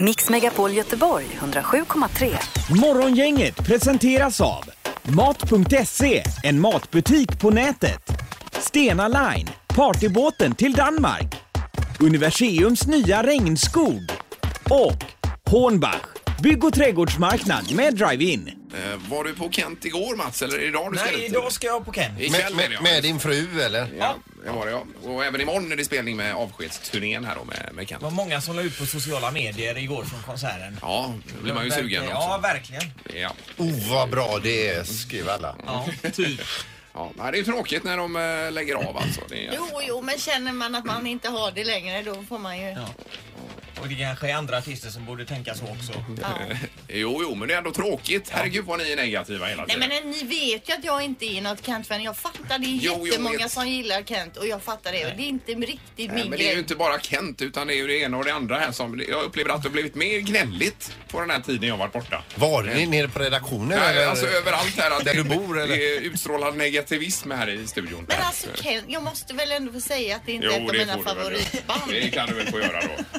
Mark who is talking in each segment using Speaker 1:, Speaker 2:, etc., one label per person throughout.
Speaker 1: Mix Megapol Göteborg 107,3.
Speaker 2: Morgongänget presenteras av Mat.se, en matbutik på nätet. Stena Line, partybåten till Danmark. Universiums nya regnskog. Och Hornbach, bygg och trädgårdsmarknad med drive-in.
Speaker 3: Eh, Var du på Kent igår Mats eller är det idag du ska
Speaker 4: Nej,
Speaker 3: dit?
Speaker 4: idag ska jag på Ken.
Speaker 3: Ikväll
Speaker 5: Med,
Speaker 3: med,
Speaker 5: med, med din fru eller?
Speaker 3: Ja, det var det ja. Och även imorgon är det spelning med avskedsturnén här då med, med Kent.
Speaker 4: Det var många som la ut på sociala medier igår från konserten.
Speaker 3: Ja, då blir man ju
Speaker 4: Verkligen-
Speaker 3: sugen
Speaker 4: Ja,
Speaker 3: också.
Speaker 4: verkligen.
Speaker 3: Ja.
Speaker 5: Oh vad bra det är, skrev alla.
Speaker 4: Ja, typ.
Speaker 3: Ja, nej, det är ju tråkigt när de eh, lägger av alltså. Det är,
Speaker 6: Jo, jo, men känner man att man inte har det längre då får man ju...
Speaker 4: Och det kanske är andra artister som borde tänka så också.
Speaker 3: jo, jo, men det är ändå tråkigt. Herregud vad ni är negativa hela
Speaker 6: Nej
Speaker 3: tiden.
Speaker 6: men eh, ni vet ju att jag inte är något Kent-fan. Jag fattar det är
Speaker 3: Jo, jag
Speaker 6: jättemånga
Speaker 3: vet.
Speaker 6: som gillar Kent och jag fattar det. Och det är inte riktigt
Speaker 3: Nej,
Speaker 6: min
Speaker 3: men det är
Speaker 6: grej.
Speaker 3: ju inte bara Kent utan det är ju det ena och det andra här som jag upplever att det har blivit mer gnälligt på den här tiden jag varit borta.
Speaker 5: Var ni nere på redaktionen?
Speaker 3: Nej,
Speaker 5: eller?
Speaker 3: alltså överallt här. Att
Speaker 5: Där du
Speaker 3: det-
Speaker 5: bor, eller?
Speaker 3: Det utstrålar negativism här i studion.
Speaker 6: Men alltså Kent, jag måste väl ändå få säga att det inte är ett av mina
Speaker 3: får du väl.
Speaker 6: favoritband.
Speaker 3: Det kan du väl få göra då.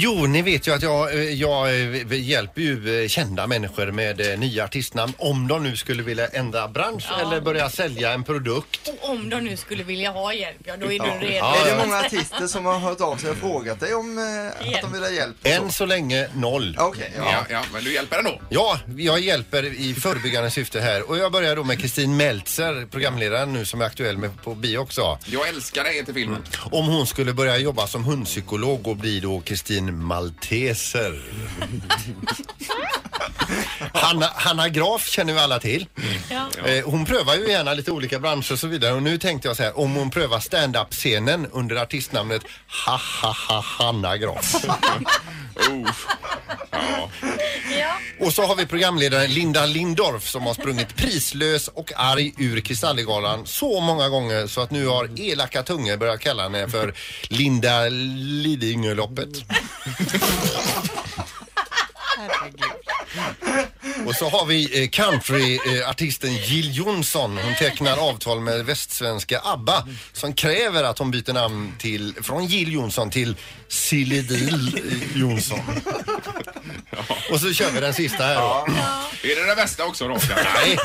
Speaker 5: Jo, ni vet ju att jag, eh, jag eh, hjälper ju eh, kända människor med eh, nya artistnamn om de nu skulle vilja ändra bransch eller börja sälja en produkt.
Speaker 6: Och om de nu skulle vilja ha hjälp, ja då är du redo.
Speaker 5: Ja,
Speaker 7: Är
Speaker 5: ja.
Speaker 7: det många artister som har hört av sig och frågat dig om eh, att de vill ha hjälp?
Speaker 5: Än så länge noll.
Speaker 7: Ja, Okej, ja.
Speaker 3: Ja, ja, men du hjälper ändå.
Speaker 5: Ja, jag hjälper i förebyggande syfte här och jag börjar då med Kristin Meltzer, programledaren nu som är aktuell med på bio också.
Speaker 3: Jag älskar dig heter
Speaker 6: Mm.
Speaker 3: filmen.
Speaker 5: Om hon skulle börja jobba som hundpsykolog och bli då Kristin Malteser. Hanna, Hanna Graf känner vi alla till. Eh, Hon prövar ju gärna lite olika branscher och så vidare och nu tänkte jag så här om hon prövar stand-up-scenen under artistnamnet ha ha ha Hanna Graf.
Speaker 3: Oh. Ja.
Speaker 5: Och så har vi programledaren Linda Lindorff som har sprungit prislös och arg ur Kristallegalan så många gånger så att nu har elaka tungor börjat kalla henne för Linda Lidingöloppet. Och så har vi eh, countryartisten Jill Johnson. Hon tecknar avtal med västsvenska ABBA som kräver att hon byter namn till, från Jill Johnson till Silly Dill Johnson. Och så kör vi den sista här då.
Speaker 3: Är det det bästa också då?
Speaker 5: Nej,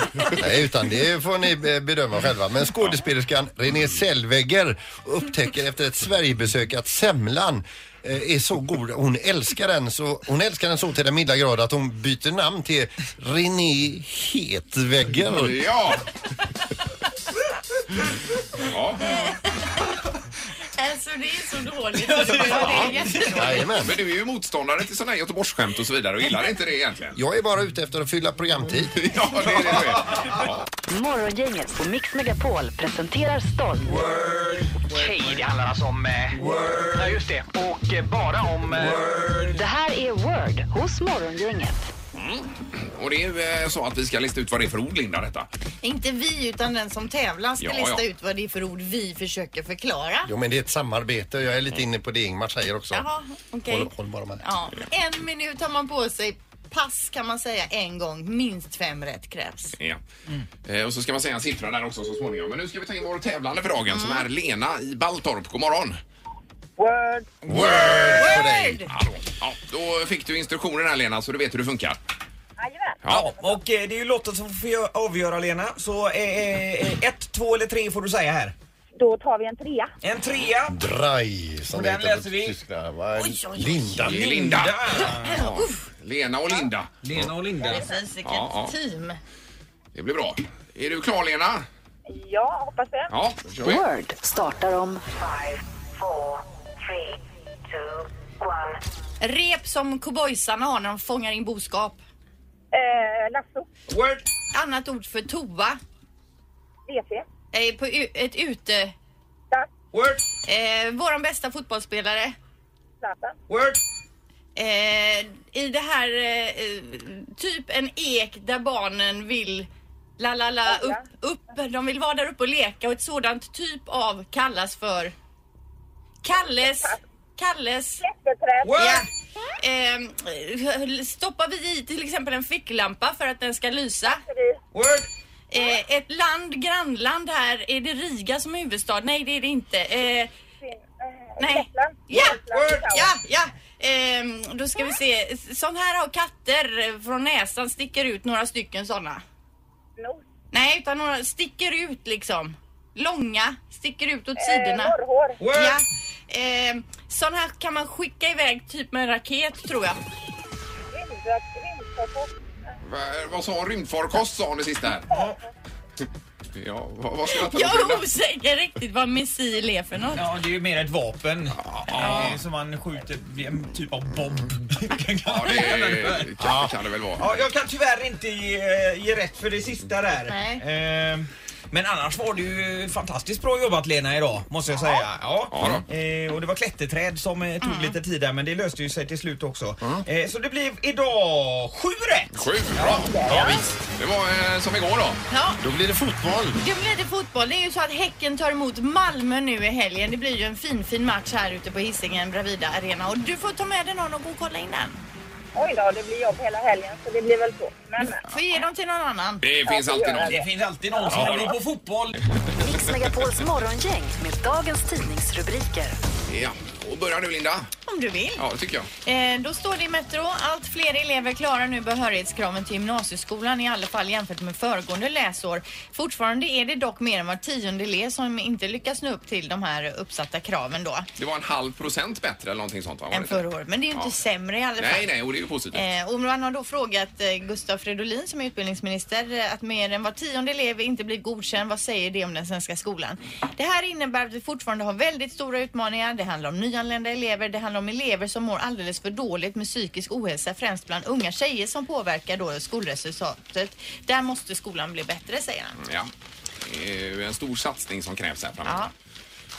Speaker 5: nej, utan det får ni eh, bedöma själva. Men skådespelerskan Renée Zellweger upptäcker efter ett Sverigebesök att semlan eh, är så god. Hon älskar den så, hon älskar den så till den milda grad att hon byter namn till Renée Hetwegger.
Speaker 3: Ja. ja.
Speaker 6: Alltså det är så dåligt. så det är jättedåligt.
Speaker 5: Jajamän.
Speaker 3: Men du är ju motståndare till sådana här Göteborgsskämt och så vidare och gillar inte det egentligen.
Speaker 5: Jag är bara ute efter att fylla programtid.
Speaker 3: Ja, det är det du är. Ja.
Speaker 1: Morgongänget på Mix Megapol presenterar stolt.
Speaker 8: Tjej, det handlar alltså om... Eh, ja, just det. Och eh, bara om... Eh,
Speaker 1: Det här är Word hos Morgongänget.
Speaker 3: Och det är ju eh, så att vi ska lista ut vad det är för ord, Linda, detta.
Speaker 6: Inte vi utan den som tävlar ska
Speaker 3: Ja, ja.
Speaker 6: lista ut vad det är för ord vi försöker förklara.
Speaker 5: Jo men det är ett samarbete och jag är lite inne på det Ingmar säger också.
Speaker 6: Jaha, okej.
Speaker 5: Håll, håll bara med.
Speaker 6: Ja, en minut har man på sig. Pass kan man säga en gång. Minst fem rätt krävs.
Speaker 3: Ja.
Speaker 6: Mm.
Speaker 3: Eh, Och så ska man säga en siffra där också så småningom. Men nu ska vi ta in vår tävlande för dagen som
Speaker 6: Mm.
Speaker 3: är Lena i Baltorp. God morgon!
Speaker 8: word.
Speaker 5: Word på dig!
Speaker 6: Word!
Speaker 3: Hallå. Ja, då fick du instruktioner här Lena så du vet hur det funkar.
Speaker 8: Jajamän.
Speaker 4: Ja, och eh, det är ju Lotta som får gö- avgöra Lena. Så eh, eh, eh, ett, två eller tre får du säga här.
Speaker 8: Då tar vi en trea.
Speaker 4: En trea.
Speaker 5: Drei som
Speaker 4: Och
Speaker 5: det
Speaker 4: den
Speaker 5: heter på
Speaker 4: läser vi.
Speaker 5: tyska. Va?
Speaker 6: Oj, oj, oj.
Speaker 5: Linda.
Speaker 3: Linda! Ja. Lena och Linda.
Speaker 4: Lena och Linda.
Speaker 6: Precis, vilket
Speaker 3: Ja, ja.
Speaker 6: team.
Speaker 3: Det blir bra. Är du klar Lena?
Speaker 8: Ja, hoppas det.
Speaker 3: Ja, då kör vi.
Speaker 1: Word startar om
Speaker 6: Rep som cowboysarna har när de fångar in boskap.
Speaker 8: Eh, lasso.
Speaker 4: Word.
Speaker 6: Annat ord för toa.
Speaker 8: WC.
Speaker 6: Eh, på u- ett ute...
Speaker 8: Tack.
Speaker 4: Word.
Speaker 6: Eh, våran bästa fotbollsspelare.
Speaker 8: Zlatan.
Speaker 4: Word.
Speaker 6: Eh, I det här... Eh, eh, typ en ek där barnen vill... La, la, la, upp, upp. De vill vara där uppe och leka och ett sådant typ av kallas för... Kalles... Kalles...
Speaker 8: Klätterträd.
Speaker 4: Word.
Speaker 6: Ja. Eh, stoppar vi i till exempel en ficklampa för att den ska lysa?
Speaker 4: Word.
Speaker 6: Eh, ett land, grannland här, är det Riga som är huvudstad? Nej, det är det inte. Eh,
Speaker 9: eh,
Speaker 6: nej. Ja, ja, ja. Ehm, då ska vi se. Sån här har katter från näsan sticker ut några stycken sådana. Nej, utan några sticker ut liksom. Långa, sticker ut åt
Speaker 10: Eh,
Speaker 9: eh,
Speaker 6: sidorna. Ja. Ehm, sån här kan man skicka iväg typ med en raket tror jag.
Speaker 3: Va, vad sa hon? Rymdfarkost sa hon det sista här. Ja, vad, vad ska jag ta
Speaker 6: Jag
Speaker 3: upp
Speaker 6: är
Speaker 3: den?
Speaker 6: osäker riktigt vad missil är för något.
Speaker 4: Ja, det är ju mer ett vapen eh, som man skjuter vid en typ av bomb.
Speaker 3: Ja, det är- kan, kan det väl vara.
Speaker 4: Ja, jag kan tyvärr inte ge, eh, ge rätt för det sista där.
Speaker 6: Nej.
Speaker 4: Ehm, men annars var det ju fantastiskt bra jobbat Lena idag, måste jag säga. Ja.
Speaker 3: Ja då.
Speaker 4: Ehm, och det var klätterträd som eh, tog lite tid där, men det löste ju sig till slut också. Ehm, så det blev idag sju rätt!
Speaker 3: Sju, bra. Ja, visst. Det var eh, som igår då.
Speaker 6: Ja,
Speaker 5: Då blir det fotboll.
Speaker 6: det blir det fotboll. Det är ju så att Häcken tar emot Malmö nu i helgen. Det blir ju en fin, fin match här ute på Hisingen Bravida Arena. Och du får ta med dig någon och gå och kolla in den.
Speaker 9: Oj då, det blir jobb hela helgen så det blir väl så. Men, men.
Speaker 6: Får ge dem till någon annan.
Speaker 3: Det finns alltid någon.
Speaker 4: Det finns alltid någon som
Speaker 3: Ja.
Speaker 4: vill gå på fotboll.
Speaker 1: Mix Megapols morgongäng med dagens tidningsrubriker.
Speaker 3: Ja, och börja nu Linda.
Speaker 6: Om du vill.
Speaker 3: Ja, det tycker jag.
Speaker 6: Eh, då står det i Metro, allt fler elever klarar nu behörighetskraven till gymnasieskolan i alla fall jämfört med föregående läsår. Fortfarande är det dock mer än var tionde elev som inte lyckas nå upp till de här uppsatta kraven då
Speaker 3: Det var en halv procent bättre eller någonting sånt va? Var det
Speaker 6: än
Speaker 3: inte?
Speaker 6: förra året. Men det är ju inte
Speaker 3: Ja.
Speaker 6: sämre i alla fall.
Speaker 3: Nej, nej, och det är ju positivt.
Speaker 6: Eh, och man har då frågat eh, Gustav Fridolin som är utbildningsminister eh, att mer än var tionde elev inte blir godkänd. Vad säger det om den svenska skolan? Det här innebär att vi fortfarande har väldigt stora utmaningar. Det handlar om nyanlända elever. Det handlar om elever som mår alldeles för dåligt med psykisk ohälsa, främst bland unga tjejer som påverkar då skolresultatet. Där måste skolan bli bättre, säger han.
Speaker 3: Ja. Det är ju en stor satsning som krävs här framöver.
Speaker 6: Ja.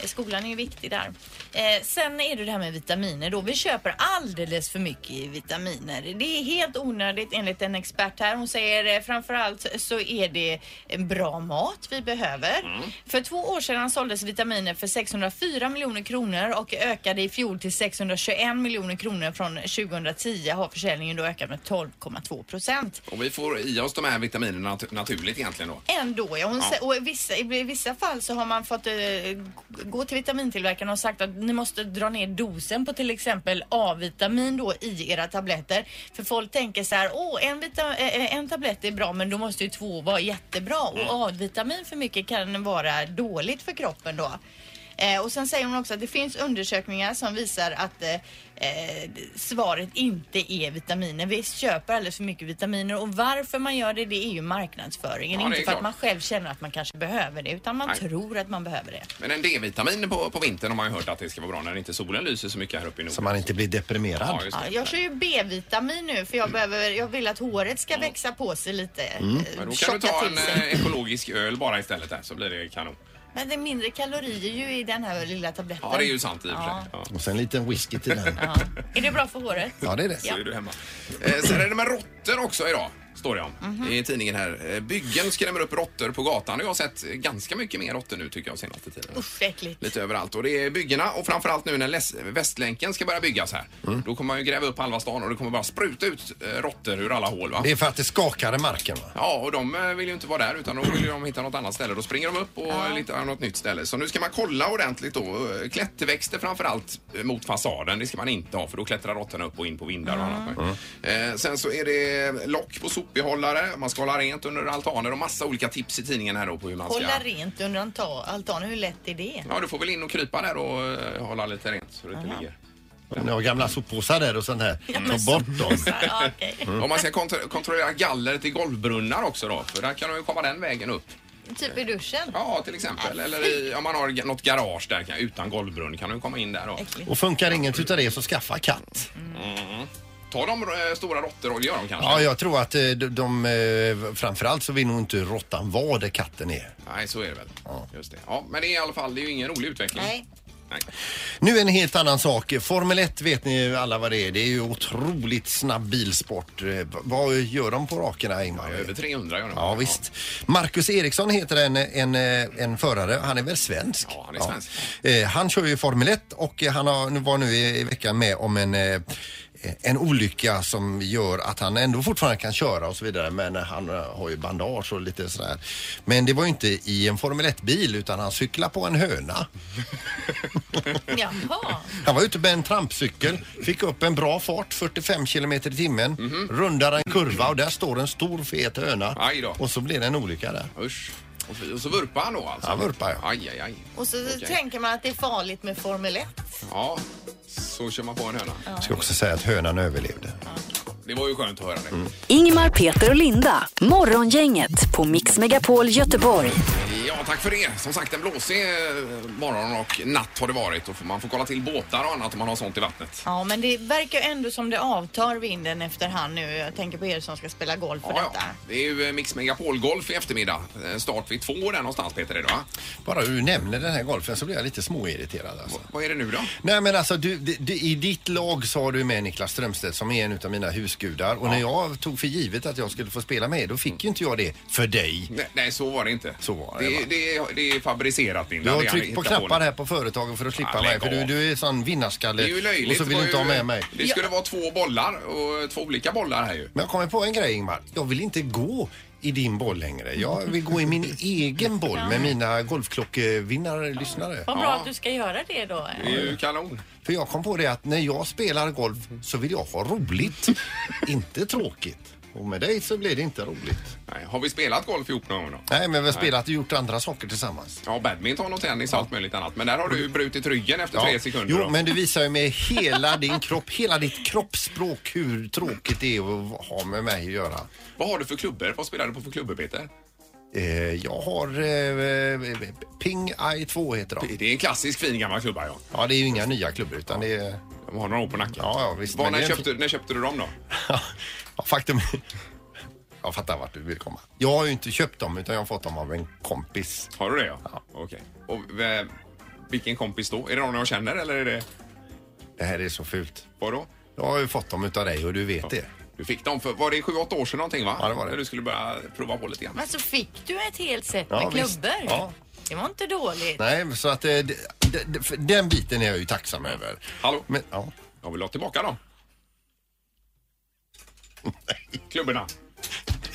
Speaker 6: Eh, Skolan är ju viktig där. Eh, sen är det det här med vitaminer då. Vi köper alldeles för mycket vitaminer. Det är helt onödigt enligt en expert här. Hon säger eh, framförallt så är det eh, bra mat vi behöver. För två år sedan såldes vitaminer för 604 miljoner kronor och ökade i fjol till 621 miljoner kronor. Från 2010 har försäljningen då ökat med 12,2 procent.
Speaker 3: Och vi får i oss de här vitaminerna nat- naturligt egentligen då.
Speaker 6: Ändå, ja. Hon
Speaker 3: Ja.
Speaker 6: sä- och i vissa, i vissa fall så har man fått eh, g- gå till vitamintillverkaren och sagt att ni måste dra ner dosen på till exempel A-vitamin då i era tabletter. För folk tänker så här, åh en, vita- eh, eh, en tablett är bra men då måste ju två vara jättebra och A-vitamin för mycket kan vara dåligt för kroppen då. Eh, och sen säger hon också att det finns undersökningar som visar att eh, eh, svaret inte är vitaminer. Vi köper alldeles för mycket vitaminer och varför man gör det, det är ju marknadsföringen.
Speaker 3: Ja, det är
Speaker 6: inte för
Speaker 3: klart.
Speaker 6: att man själv känner att man kanske behöver det utan man
Speaker 3: Nej.
Speaker 6: tror att man behöver det.
Speaker 3: Men en D-vitamin på, på vintern har man ju hört att det ska vara bra när inte solen lyser så mycket här uppe i Norden.
Speaker 5: Så man inte blir deprimerad.
Speaker 3: Ja, just
Speaker 6: Ja,
Speaker 3: det.
Speaker 6: jag kör ju B-vitamin nu
Speaker 3: Mm.
Speaker 6: för jag, behöver, jag vill att håret ska växa på sig lite. eh,
Speaker 3: Men Mm. då kan
Speaker 6: tjocka
Speaker 3: du ta en
Speaker 6: till sig.
Speaker 3: eh, ekologisk öl bara istället där så blir det kanon.
Speaker 6: Men det är mindre kalorier ju i den här lilla tabletten.
Speaker 3: Ja, det är ju sant i och för
Speaker 6: Ja.
Speaker 3: sig. Ja.
Speaker 5: Och sen en liten whisky till den.
Speaker 6: Ja. Är det bra för håret?
Speaker 5: Ja, det är det.
Speaker 3: Så är du hemma. Eh, sen är det med råttor också idag. Står det om
Speaker 6: Mhm.
Speaker 3: i tidningen här. Eh, Byggen skrämmer upp råttor på gatan. Jag har sett eh, ganska mycket mer råttor nu tycker jag senaste tiden.
Speaker 6: Usch, vad äckligt.
Speaker 3: Lite överallt. Och det är byggena och framförallt nu när läs- Västlänken ska börja byggas här. Då kommer man ju gräva upp halva stan och det kommer bara spruta ut eh, råttor ur alla hål va?
Speaker 5: Det är för att det skakar i marken va?
Speaker 3: Ja, och de eh, vill ju inte vara där utan de vill ju de hitta något annat ställe. Då springer de upp och ja. hittar något nytt ställe. Så nu ska man kolla ordentligt då. Eh, Klätterväxter framförallt eh, mot fasaden, det ska man inte ha för då klättrar råttorna upp och in på vindar och annat. Eh, sen så är det lock på sopbehållare, man ska hålla rent under altaner och massa olika tips i tidningen här då på hur man ska...
Speaker 6: Hålla rent under anta- altanen, hur lätt är det?
Speaker 3: Ja, du får väl in och krypa där och eh, hålla lite rent så det inte ligger.
Speaker 5: Ni har gamla soppåsar där och sånt här.
Speaker 6: men
Speaker 5: Ta bort dem.
Speaker 6: Ja, okej.
Speaker 5: Mm.
Speaker 3: Och man ska kontro- kontrollera gallret i golvbrunnar också då, för där kan de ju komma den vägen upp.
Speaker 6: Typ i duschen.
Speaker 3: Ja, till
Speaker 5: Ah,
Speaker 3: exempel. Eller i, om man har ga- något garage där kan- utan golvbrunn kan du komma in där och
Speaker 6: Äckligt.
Speaker 5: Och funkar inget utav det så skaffa katt.
Speaker 3: ta de eh, stora råttoråljor de kanske.
Speaker 5: Ja, jag tror att eh, de, de eh, framförallt så vill nog inte råttan vara där katten är.
Speaker 3: Nej, så är det väl. Just det. Ja, men det är i alla fall, det är ju ingen rolig utveckling.
Speaker 6: Nej.
Speaker 3: Nej.
Speaker 5: Nu en helt annan sak. Formel 1 vet ni ju alla vad det är. Det är ju otroligt snabb bilsport. Eh, v- Vad gör de på rakerna Ingmar?
Speaker 3: Över 300 gör de.
Speaker 5: Ja visst. Marcus Eriksson heter en, en, en förare. Han är väl svensk?
Speaker 3: Ja, han är svensk.
Speaker 5: Eh, Han kör ju Formel 1 och han har, var nu i i veckan med om en eh, en olycka som gör att han ändå fortfarande kan köra och så vidare men han eh, har ju bandage och lite sådär. Men det var ju inte i en Formel 1-bil utan han cyklade på en höna.
Speaker 6: Jaha.
Speaker 5: Han var ute med en trampcykel, fick upp en bra fart, 45 kilometer i timmen, rundar en kurva och där står en stor fet höna.
Speaker 3: Mhm. Aj då.
Speaker 5: Och så blir det en olycka där.
Speaker 3: Usch. Och så, och så vurpar han då alltså?
Speaker 5: Han vurpar, ja.
Speaker 3: Aj, aj, aj.
Speaker 6: Och så
Speaker 3: Okej.
Speaker 6: tänker man att det är farligt med Formel 1.
Speaker 3: Ja, så kör man på en höna.
Speaker 5: Jag ska också säga att hönan överlevde.
Speaker 3: Det var ju skönt att höra det.
Speaker 1: Ingmar, Peter och Linda. Morgongänget på Mix Megapol Göteborg.
Speaker 3: Ja, tack för det. Som sagt, en blåsig eh, morgon och natt har det varit. Och man får kolla till båtar och annat om man har sånt i vattnet.
Speaker 6: Ja, men det verkar ju ändå som det avtar vinden efterhand nu. Jag tänker på er som ska spela golf och
Speaker 3: Ja, ja.
Speaker 6: detta.
Speaker 3: Det är ju eh, Mix Megapol Golf i eftermiddag. Eh, Start vid två där någonstans, Peter. Är det, va?
Speaker 5: Bara du nämner den här golfen så blir jag lite småirriterad alltså.
Speaker 3: Vad är det nu då?
Speaker 5: Nej men alltså du, d- d- i ditt lag så har du med Niklas Strömstedt som är en utav mina husgudar och när jag tog för givet att jag skulle få spela med då fick ju inte jag det för dig.
Speaker 3: Nej, nej, så var det inte.
Speaker 5: Så var det,
Speaker 3: det,
Speaker 5: va?
Speaker 3: det, är- det är fabricerat, Linda.
Speaker 5: Du har
Speaker 3: Det är han
Speaker 5: tryckt på
Speaker 3: hittar
Speaker 5: knappar
Speaker 3: det.
Speaker 5: här på företagen för att slippa
Speaker 3: Ja,
Speaker 5: mig
Speaker 3: lägg
Speaker 5: för du,
Speaker 3: av.
Speaker 5: du är sån vinnarskalle
Speaker 3: Det är ju löjligt.
Speaker 5: och så vill
Speaker 3: Det
Speaker 5: du
Speaker 3: var
Speaker 5: inte ha
Speaker 3: ju-
Speaker 5: med mig.
Speaker 3: Det skulle vara två bollar och två olika bollar här ju.
Speaker 5: Men jag kommer på en grej Ingmar. Jag vill inte gå i din boll längre. Jag vill gå i min egen boll med mina golfklockvinnare lyssnare.
Speaker 6: Vad bra
Speaker 3: Ja.
Speaker 6: att du ska göra det då.
Speaker 3: Det är ju kanon.
Speaker 5: För jag kom på det att när jag spelar golf så vill jag ha roligt, inte tråkigt. Och med dig så blir det inte roligt.
Speaker 3: Nej, har vi spelat golf ihop någon gång då?
Speaker 5: Nej, men vi har spelat och gjort andra saker tillsammans.
Speaker 3: Ja, badminton och tennis och allt möjligt annat. Men där har du ju brutit ryggen efter tre sekunder.
Speaker 5: Jo,
Speaker 3: då.
Speaker 5: men du visar ju med hela din kropp, hela ditt kroppsspråk hur tråkigt det är att ha med mig att göra.
Speaker 3: Vad har du för klubbor? Vad spelar du på för klubbor, Peter?
Speaker 5: Eh, jag har eh, Ping I2 heter de.
Speaker 3: Det är en klassisk fin gammal klubba, ja.
Speaker 5: Ja, det är ju inga nya klubbor utan det är...
Speaker 3: De har några år på nacken.
Speaker 5: Ja, ja, visst,
Speaker 3: Var,
Speaker 5: men
Speaker 3: när,
Speaker 5: det är en
Speaker 3: köpte, när köpte du dem då?
Speaker 5: ja, faktum Jag fattar vart du vill komma. Jag har ju inte köpt dem utan jag har fått dem av en kompis.
Speaker 3: Har du det, ja? Okej. Och eh, vilken kompis då? Är det någon jag känner eller är det...
Speaker 5: Det här är så fult.
Speaker 3: Vadå?
Speaker 5: Jag har ju fått dem utav dig och du vet det.
Speaker 3: Du fick dem för, var det 7-8 år sedan någonting va?
Speaker 5: Ja, det var det.
Speaker 3: När du skulle börja prova på lite grann.
Speaker 6: Men så fick du ett helt set med
Speaker 5: Ja, visst.
Speaker 6: klubbor.
Speaker 5: Ja.
Speaker 6: Det var inte dåligt.
Speaker 5: Nej, men så att eh, d- d- d- för den biten är jag ju tacksam över.
Speaker 3: Hallå?
Speaker 5: Men, ja.
Speaker 3: Jag vill ha tillbaka dem. Klubborna.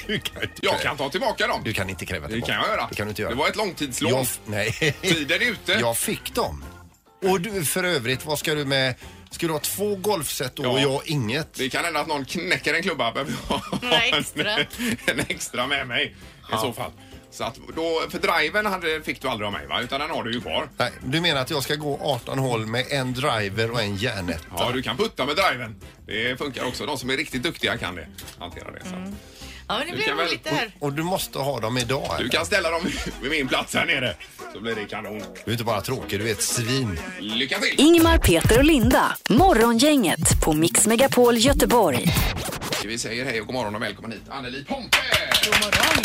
Speaker 5: Du kan inte
Speaker 3: Jag kan ta tillbaka dem.
Speaker 5: Du kan inte kräva
Speaker 3: Det
Speaker 5: tillbaka.
Speaker 3: kan jag göra.
Speaker 5: Det kan du inte göra.
Speaker 3: Det var ett långtidslån.
Speaker 5: jag, Nej.
Speaker 3: Tiden är ute.
Speaker 5: Jag fick dem. Och du för övrigt, vad ska du med? Ska du ha två golfset då
Speaker 3: Ja.
Speaker 5: och jag inget?
Speaker 3: Det kan hända att någon knäcker en klubba. Behöver jag
Speaker 6: Några
Speaker 3: ha en-
Speaker 6: extra.
Speaker 3: en extra med mig i så fall. Så att då, för driven hade, fick du aldrig av mig va? Utan den har du ju kvar.
Speaker 5: Nej, du menar att jag ska gå 18 hål med en driver och en järnet?
Speaker 3: Ja, du kan putta med driven. Det funkar också. De som är riktigt duktiga kan det. Hantera det. Så. att-
Speaker 6: Ja, men det
Speaker 3: Du
Speaker 6: blev
Speaker 3: kan väl-
Speaker 6: roligt det här.
Speaker 5: Och du måste ha dem idag? eller?
Speaker 3: Du kan ställa dem vid min plats här nere. Så blir det kanon.
Speaker 5: Du är inte bara tråkig, du är ett svin.
Speaker 3: Lycka till!
Speaker 1: Ingmar, Peter och Linda. Morgongänget på Mix Megapol Göteborg.
Speaker 3: Vi säger hej och god morgon och välkommen hit Anneli Pompe! God morgon!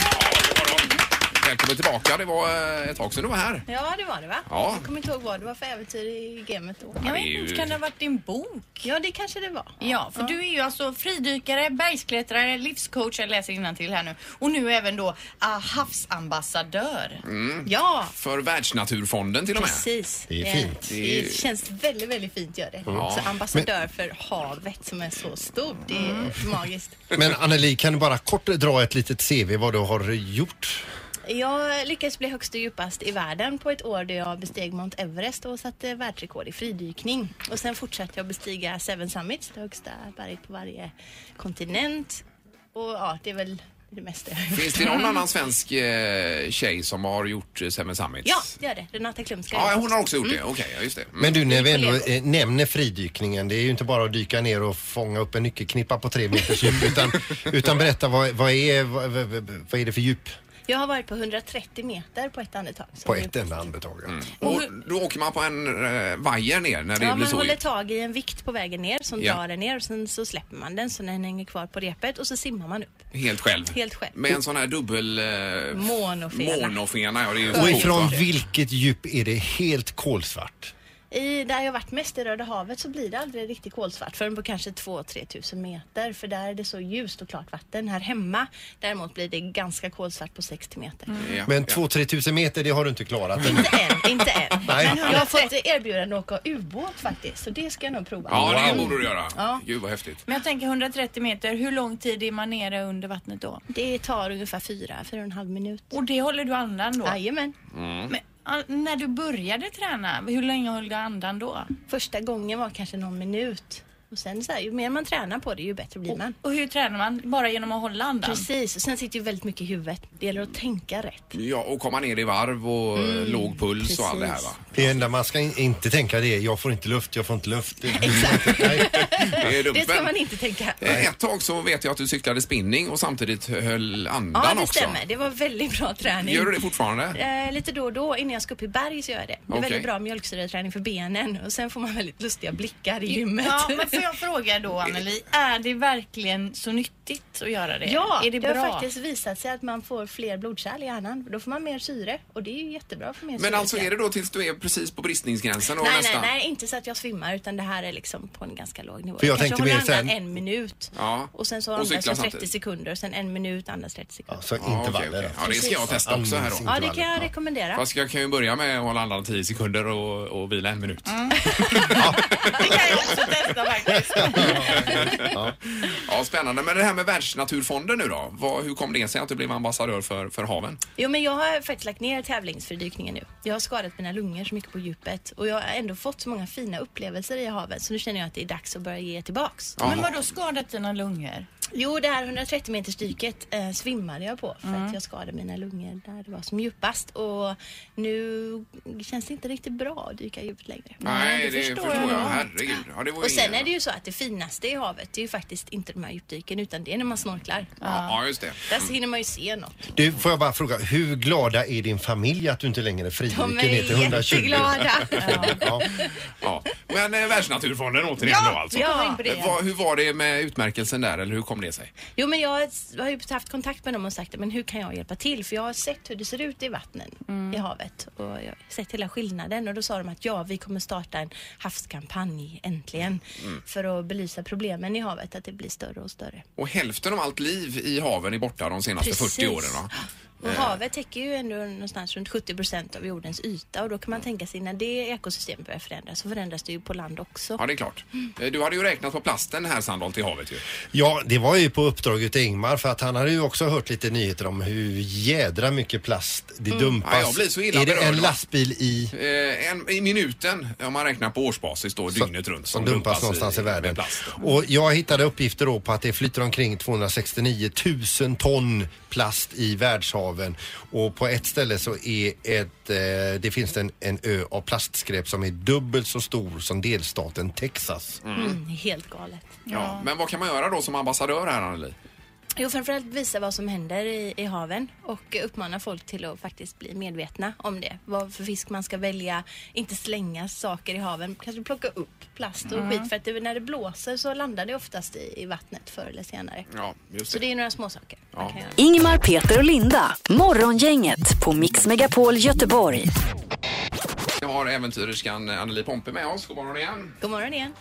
Speaker 3: Välkommen tillbaka. Det var eh, ett tag sedan du var här.
Speaker 9: Ja, det var det va?
Speaker 3: Ja.
Speaker 9: Jag kommer inte ihåg vad det var för äventyr i gamet då.
Speaker 3: Ja,
Speaker 6: Jag
Speaker 3: det
Speaker 6: vet
Speaker 3: är
Speaker 6: inte,
Speaker 3: ju-
Speaker 6: kan det ha varit din bok?
Speaker 9: Ja, det kanske det var.
Speaker 6: Ja, för du är ju alltså fridykare, bergsklättrare, livscoach, jag läser till här nu, och nu även då ah, havsambassadör.
Speaker 3: Mm.
Speaker 6: Ja,
Speaker 3: För Världsnaturfonden till och med.
Speaker 9: Precis. Eh,
Speaker 5: Det är fint.
Speaker 9: Det,
Speaker 3: Det är-
Speaker 9: känns väldigt, väldigt fint gör det. Så ambassadör för havet som är så stort, det är
Speaker 6: Mm.
Speaker 9: magiskt.
Speaker 5: Men Anneli, kan du bara kort dra ett litet CV vad du har gjort?
Speaker 9: Jag lyckades bli högst och djupast i världen på ett år då jag besteg Mount Everest och satte världsrekord i fridykning. Och sen fortsatte jag bestiga Seven Summits, det högsta berget på varje kontinent. Och ja, det är väl det mesta jag har gjort.
Speaker 3: Finns det någon annan svensk eh, tjej som har gjort eh, Seven Summits?
Speaker 9: Ja, det gör det. Renata Klumska.
Speaker 3: Ja, hon har också gjort det. Okej, ja, just det. Mm.
Speaker 5: Men du, när vi ändå eh, nämner fridykningen, det är ju inte bara att dyka ner och fånga upp en nyckelknippa på tre meters djup, utan, utan berätta vad, vad, är, vad, vad- vad är det för djup
Speaker 9: Jag har varit på 130 meter på ett andetag. Så
Speaker 5: på
Speaker 9: det är
Speaker 5: ett enda andetag? ja.
Speaker 3: Och då åker man på en eh, vajer ner när det
Speaker 9: Ja,
Speaker 3: blir
Speaker 9: man
Speaker 3: så.
Speaker 9: håller
Speaker 3: djupt.
Speaker 9: tag i en vikt på vägen ner som
Speaker 3: Ja.
Speaker 9: drar den ner och sen så släpper man den så den hänger kvar på repet och så simmar man upp.
Speaker 3: Helt själv.
Speaker 9: Helt själv.
Speaker 3: Med en sån här dubbel... Eh,
Speaker 9: Monofena.
Speaker 3: Monofena, ja. Det är ju
Speaker 5: Och
Speaker 3: coolt,
Speaker 5: ifrån
Speaker 3: va?
Speaker 5: vilket djup är det helt kolsvart?
Speaker 9: I, där jag varit mest i Röda havet så blir det aldrig riktigt kolsvart förrän på kanske 2-3 tusen meter för där är det så ljust och klart vatten. Här hemma däremot blir det ganska kolsvart på 60 meter.
Speaker 3: Ja,
Speaker 5: Men
Speaker 3: ja.
Speaker 5: 2-3 tusen meter, det har du inte klarat.
Speaker 9: Inte än, inte än.
Speaker 5: Nej.
Speaker 9: Men jag har fått erbjudande att åka ubåt faktiskt så det ska jag nog prova.
Speaker 3: Ja, det
Speaker 9: Mm.
Speaker 3: borde du göra.
Speaker 9: Ja.
Speaker 3: Gud vad häftigt.
Speaker 6: Men jag tänker 130 meter, hur lång tid är man nere under vattnet då?
Speaker 9: Det tar ungefär 4-4,5 minut.
Speaker 6: Och det håller du andan då?
Speaker 9: Jajamän.
Speaker 6: Men, ah, när du började träna, hur länge höll du andan då?
Speaker 9: Första gången var kanske någon minut. Och sen så här, ju mer man tränar på det ju bättre blir man.
Speaker 6: Och hur tränar man? Bara genom att hålla andan?
Speaker 9: Precis, och sen sitter ju väldigt mycket i huvudet. Det gäller att tänka rätt.
Speaker 3: Ja, och komma ner i varv och
Speaker 9: Mm,
Speaker 3: eh, låg puls och allt det här va?
Speaker 5: Det enda man ska in, inte tänka det är jag får inte luft, jag får inte luft. Exakt. Nej.
Speaker 3: Det, är dumt,
Speaker 9: Det ska
Speaker 3: men-
Speaker 9: man inte tänka.
Speaker 3: Eh, Ett tag så vet jag att du cyklade spinning och samtidigt höll andan
Speaker 9: Ja, det
Speaker 3: också.
Speaker 9: stämmer. Det var väldigt bra träning.
Speaker 3: Gör du det fortfarande?
Speaker 9: Eh, lite då och då innan jag ska upp i berg så gör jag det. Det är
Speaker 3: Okej.
Speaker 9: väldigt bra mjölksyreträning för benen och sen får man väldigt lustiga blickar i gymmet.
Speaker 6: Ja, men får jag fråga då Anneli, är det verkligen så nyttigt att göra det?
Speaker 9: Ja,
Speaker 6: är
Speaker 9: det,
Speaker 6: det, bra?
Speaker 9: har faktiskt visat sig att man får fler blodkärl i hjärnan. Då får man mer syre och det är ju jättebra för mer syre.
Speaker 3: Men alltså är det då tills du är precis på bristningsgränsen och
Speaker 9: Nej, nej,
Speaker 3: nästan?
Speaker 9: nej, inte så att jag svimmar utan det här är liksom på en ganska låg nivå.
Speaker 5: För jag
Speaker 9: Kanske
Speaker 5: tänkte
Speaker 9: håller
Speaker 5: mer
Speaker 9: andan
Speaker 5: sen-
Speaker 9: en minut
Speaker 3: Ja,
Speaker 9: och sen så
Speaker 3: och
Speaker 9: andas
Speaker 3: cykla
Speaker 9: jag 30
Speaker 3: samtidigt.
Speaker 9: sekunder och sen en minut andas 30 sekunder.
Speaker 5: Alltså
Speaker 3: Ja, okej,
Speaker 5: intervaller.
Speaker 3: okej.
Speaker 5: alltså.
Speaker 3: ja, det ska jag testa också här då.
Speaker 9: Ja, det kan jag rekommendera.
Speaker 3: Fast jag kan ju börja med att hålla andan 10 sekunder och, och vila en minut.
Speaker 9: Mm.
Speaker 6: Det kan jag också testa faktiskt.
Speaker 3: Ja, spännande. Men det här med Världsnaturfonden nu då? Vad, hur kom det sig att du blev ambassadör för, för haven?
Speaker 9: Jo, men jag har faktiskt lagt ner tävlingsfördykningen nu. Jag har skadat mina lungor så mycket på djupet och jag har ändå fått så många fina upplevelser i havet så nu känner jag att det är dags att börja ge tillbaks.
Speaker 6: Men vadå skadat dina lungor?
Speaker 9: Jo, det här 130 metersdyket eh, svimmade jag på för att
Speaker 3: Mm.
Speaker 9: jag skadade mina lungor där det var som djupast och nu känns det inte riktigt bra att dyka djupt längre.
Speaker 3: Nej, det förstår jag. Herregud. Ja, det var ju
Speaker 9: Och sen
Speaker 3: ingen-
Speaker 9: är det ju så att det finaste i havet det är ju faktiskt inte de här djupdyken utan det är när man snorklar.
Speaker 3: Ja, just det.
Speaker 9: Där så hinner man ju se något.
Speaker 5: Du, får jag bara fråga, hur glada är din familj att du inte längre är
Speaker 9: De
Speaker 5: frivillig
Speaker 9: är
Speaker 5: ner till 120?
Speaker 9: jätteglada.
Speaker 5: Ja.
Speaker 3: Ja. Men eh, Världsnaturfonden återigen då alltså.
Speaker 9: ja.
Speaker 6: Kommer in på det
Speaker 3: Eh,
Speaker 6: igen.
Speaker 3: vad- hur var det med utmärkelsen där eller hur kom det sig?
Speaker 9: Jo men jag har ju haft kontakt med dem och sagt men hur kan jag hjälpa till? För jag har sett hur det ser ut i vattnen i havet och jag har sett hela skillnaden och då sa de att ja vi kommer starta en havskampanj äntligen för att belysa problemen i havet att det blir större och större.
Speaker 3: Och hälften av allt liv i haven är borta de senaste 40 åren. Va?
Speaker 9: Och havet täcker ju ändå någonstans runt 70 procent av jordens yta och då kan man tänka sig när det ekosystemet börjar förändras så förändras det ju på land också.
Speaker 3: Ja, det är klart.
Speaker 9: Mm.
Speaker 3: Eh, Du hade ju räknat på plasten här, Sandholt, i havet ju.
Speaker 5: ja, det var ju på uppdraget till Ingmar för att han hade ju också hört lite nyheter om hur jädra mycket plast det dumpas.
Speaker 3: Mm. Ja, jag blir så illa
Speaker 5: är det
Speaker 3: berörd,
Speaker 5: en
Speaker 3: va?
Speaker 5: lastbil i
Speaker 3: Eh, en, I minuten, om man räknar på årsbasis då, dygnet runt.
Speaker 5: som dumpas någonstans i, världen.
Speaker 3: med plast.
Speaker 5: Och jag hittade uppgifter då på att det flyter omkring 269 000 ton plast i världshaven. Och på ett ställe så är ett, eh, det finns en, en ö av plastskräp som är dubbelt så stor som delstaten Texas.
Speaker 9: Mm, helt galet.
Speaker 3: Ja. Men vad kan man göra då som ambassadör här, Anneli?
Speaker 9: Jo, framförallt visa vad som händer i, i haven och uppmana folk till att faktiskt bli medvetna om det. Vad för fisk man ska välja, inte slänga saker i haven, kanske plocka upp plast och skit för att det, när det blåser så landar det oftast i, i vattnet förr eller senare.
Speaker 3: Ja, just
Speaker 9: Så det är några små saker man kan göra.
Speaker 1: Ingmar, Peter och Linda. Morgongänget på Mix Megapol Göteborg.
Speaker 3: Vi har äventyrerskan Anneli Pompe med oss. God morgon igen.
Speaker 9: God morgon igen.